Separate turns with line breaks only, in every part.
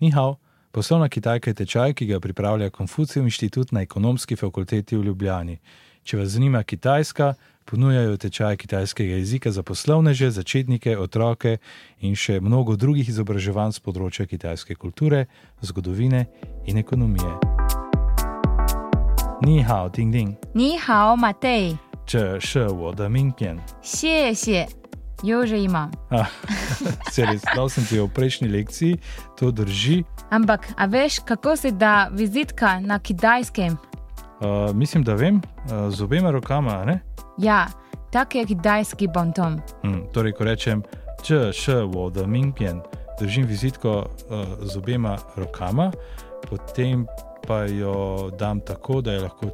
Nihao, poslovna Kitajka je tečaj, ki ga pripravlja Konfucijev inštitut na ekonomski fakulteti v Ljubljani. Če vas zanima Kitajska, ponujajo tečaj kitajskega jezika za poslovneže, začetnike, otroke in še mnogo drugih izobraževanj z področja kitajske kulture, zgodovine in ekonomije. Nihao, ding ding,
你好，Matej，
če še voda minkjen.
谢谢，有že imam.
Ah, Se res, dal sem ti jo v prejšnji lekciji, to drži.
Ampak, a veš, kako se da vizitka na kitajskem?
Uh, mislim, da vem, uh, z obema rokama. a ne?
Ja, tak je kitajski bonton.
Hm, torej, ko rečem, če še voda minkjen, držim vizitko uh, z obema rokama, potem pa jo dam tako, da je lahko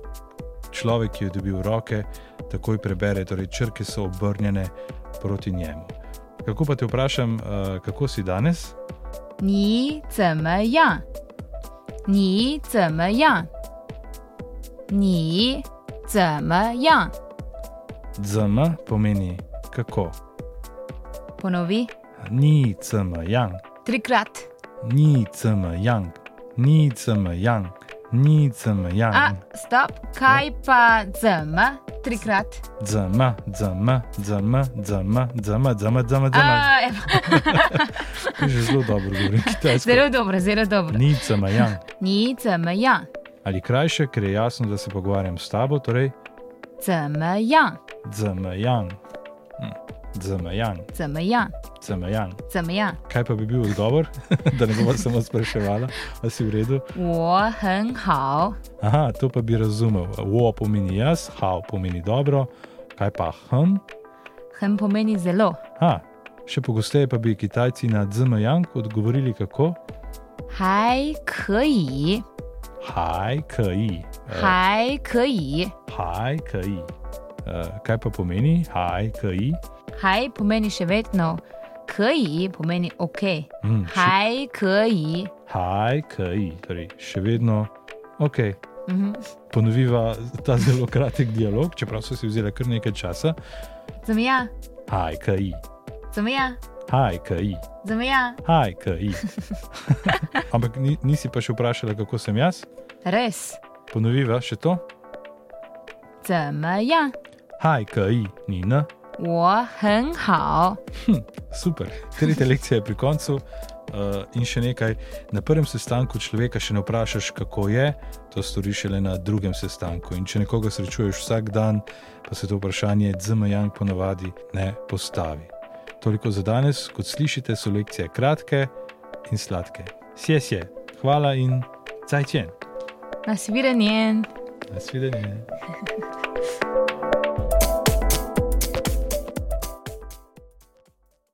človek, ki jo dobi v roke, takoj prebere, torej črke so obrnjene proti njemu. Kako pa te vprašam, uh, kako si danes?
你怎么样？你怎么样？你怎么样？
Zm pomeni kako.
Ponovi
Ni cm yang,
trikrat.
ni cm yang, ni cm yang, ni cm
A,
yang.
stop, kaj pa zm? Trikrat.
Zm, zm, zm, zm, zm, zm, zm, zm.
A, evo,
Že zelo dobro govorim kitajsko.
Zelo dobro, zelo dobro.
Ni cm yang.
你怎么样？
Ali krajše, ker je jasno, da se pogovarjam s tabo, torej
怎么样？
zm yang. Zm yang,
怎么样？
zm yang.
怎么样？
Kaj pa bi bil odgovor, da ne bova samo spraševala, ali si v redu?
我很好，
Aha, to pa bi razumel. Wo pomeni jaz, hao pomeni dobro, kaj pa hm.
很 pomeni zelo，
Ha, še pogosteje pa bi Kitajci na ZMJang odgovorili kako
还可以，
haj, ki.
还可以，
Haj, ki. Eh, Kaj pa pomeni haj, ki?
还 pomeni še vedno，可以 pomeni OK，
Mm,
还可以，
Haj, ki. Torej, še vedno ok.
嗯哼，
Ponoviva ta zelo kratek dialog, čeprav so si vzeli kar nekaj časa.
怎么样？
Haj, ki.
怎么样？
Haj, ki.
怎么样
Haj, ki. Ampak ni, nisi pa še vprašala, kako sem jaz?
？res，
Ponoviva še to.
怎么样？
Haj, ki. Ni na.
我很好，
Super, tretja lekcija je pri koncu. Uh, in še nekaj, na prvem sestanku človeka še ne vprašaš, kako je, to storiš šele na drugem sestanku. In če nekoga srečuješ vsak dan, pa se to vprašanje ZMJang ponavadi ne postavi. Toliko za danes, kot slišite, so lekcije kratke in sladke. Sjes je, hvala in cajtjen.
那是为了您。
Nasvidenje.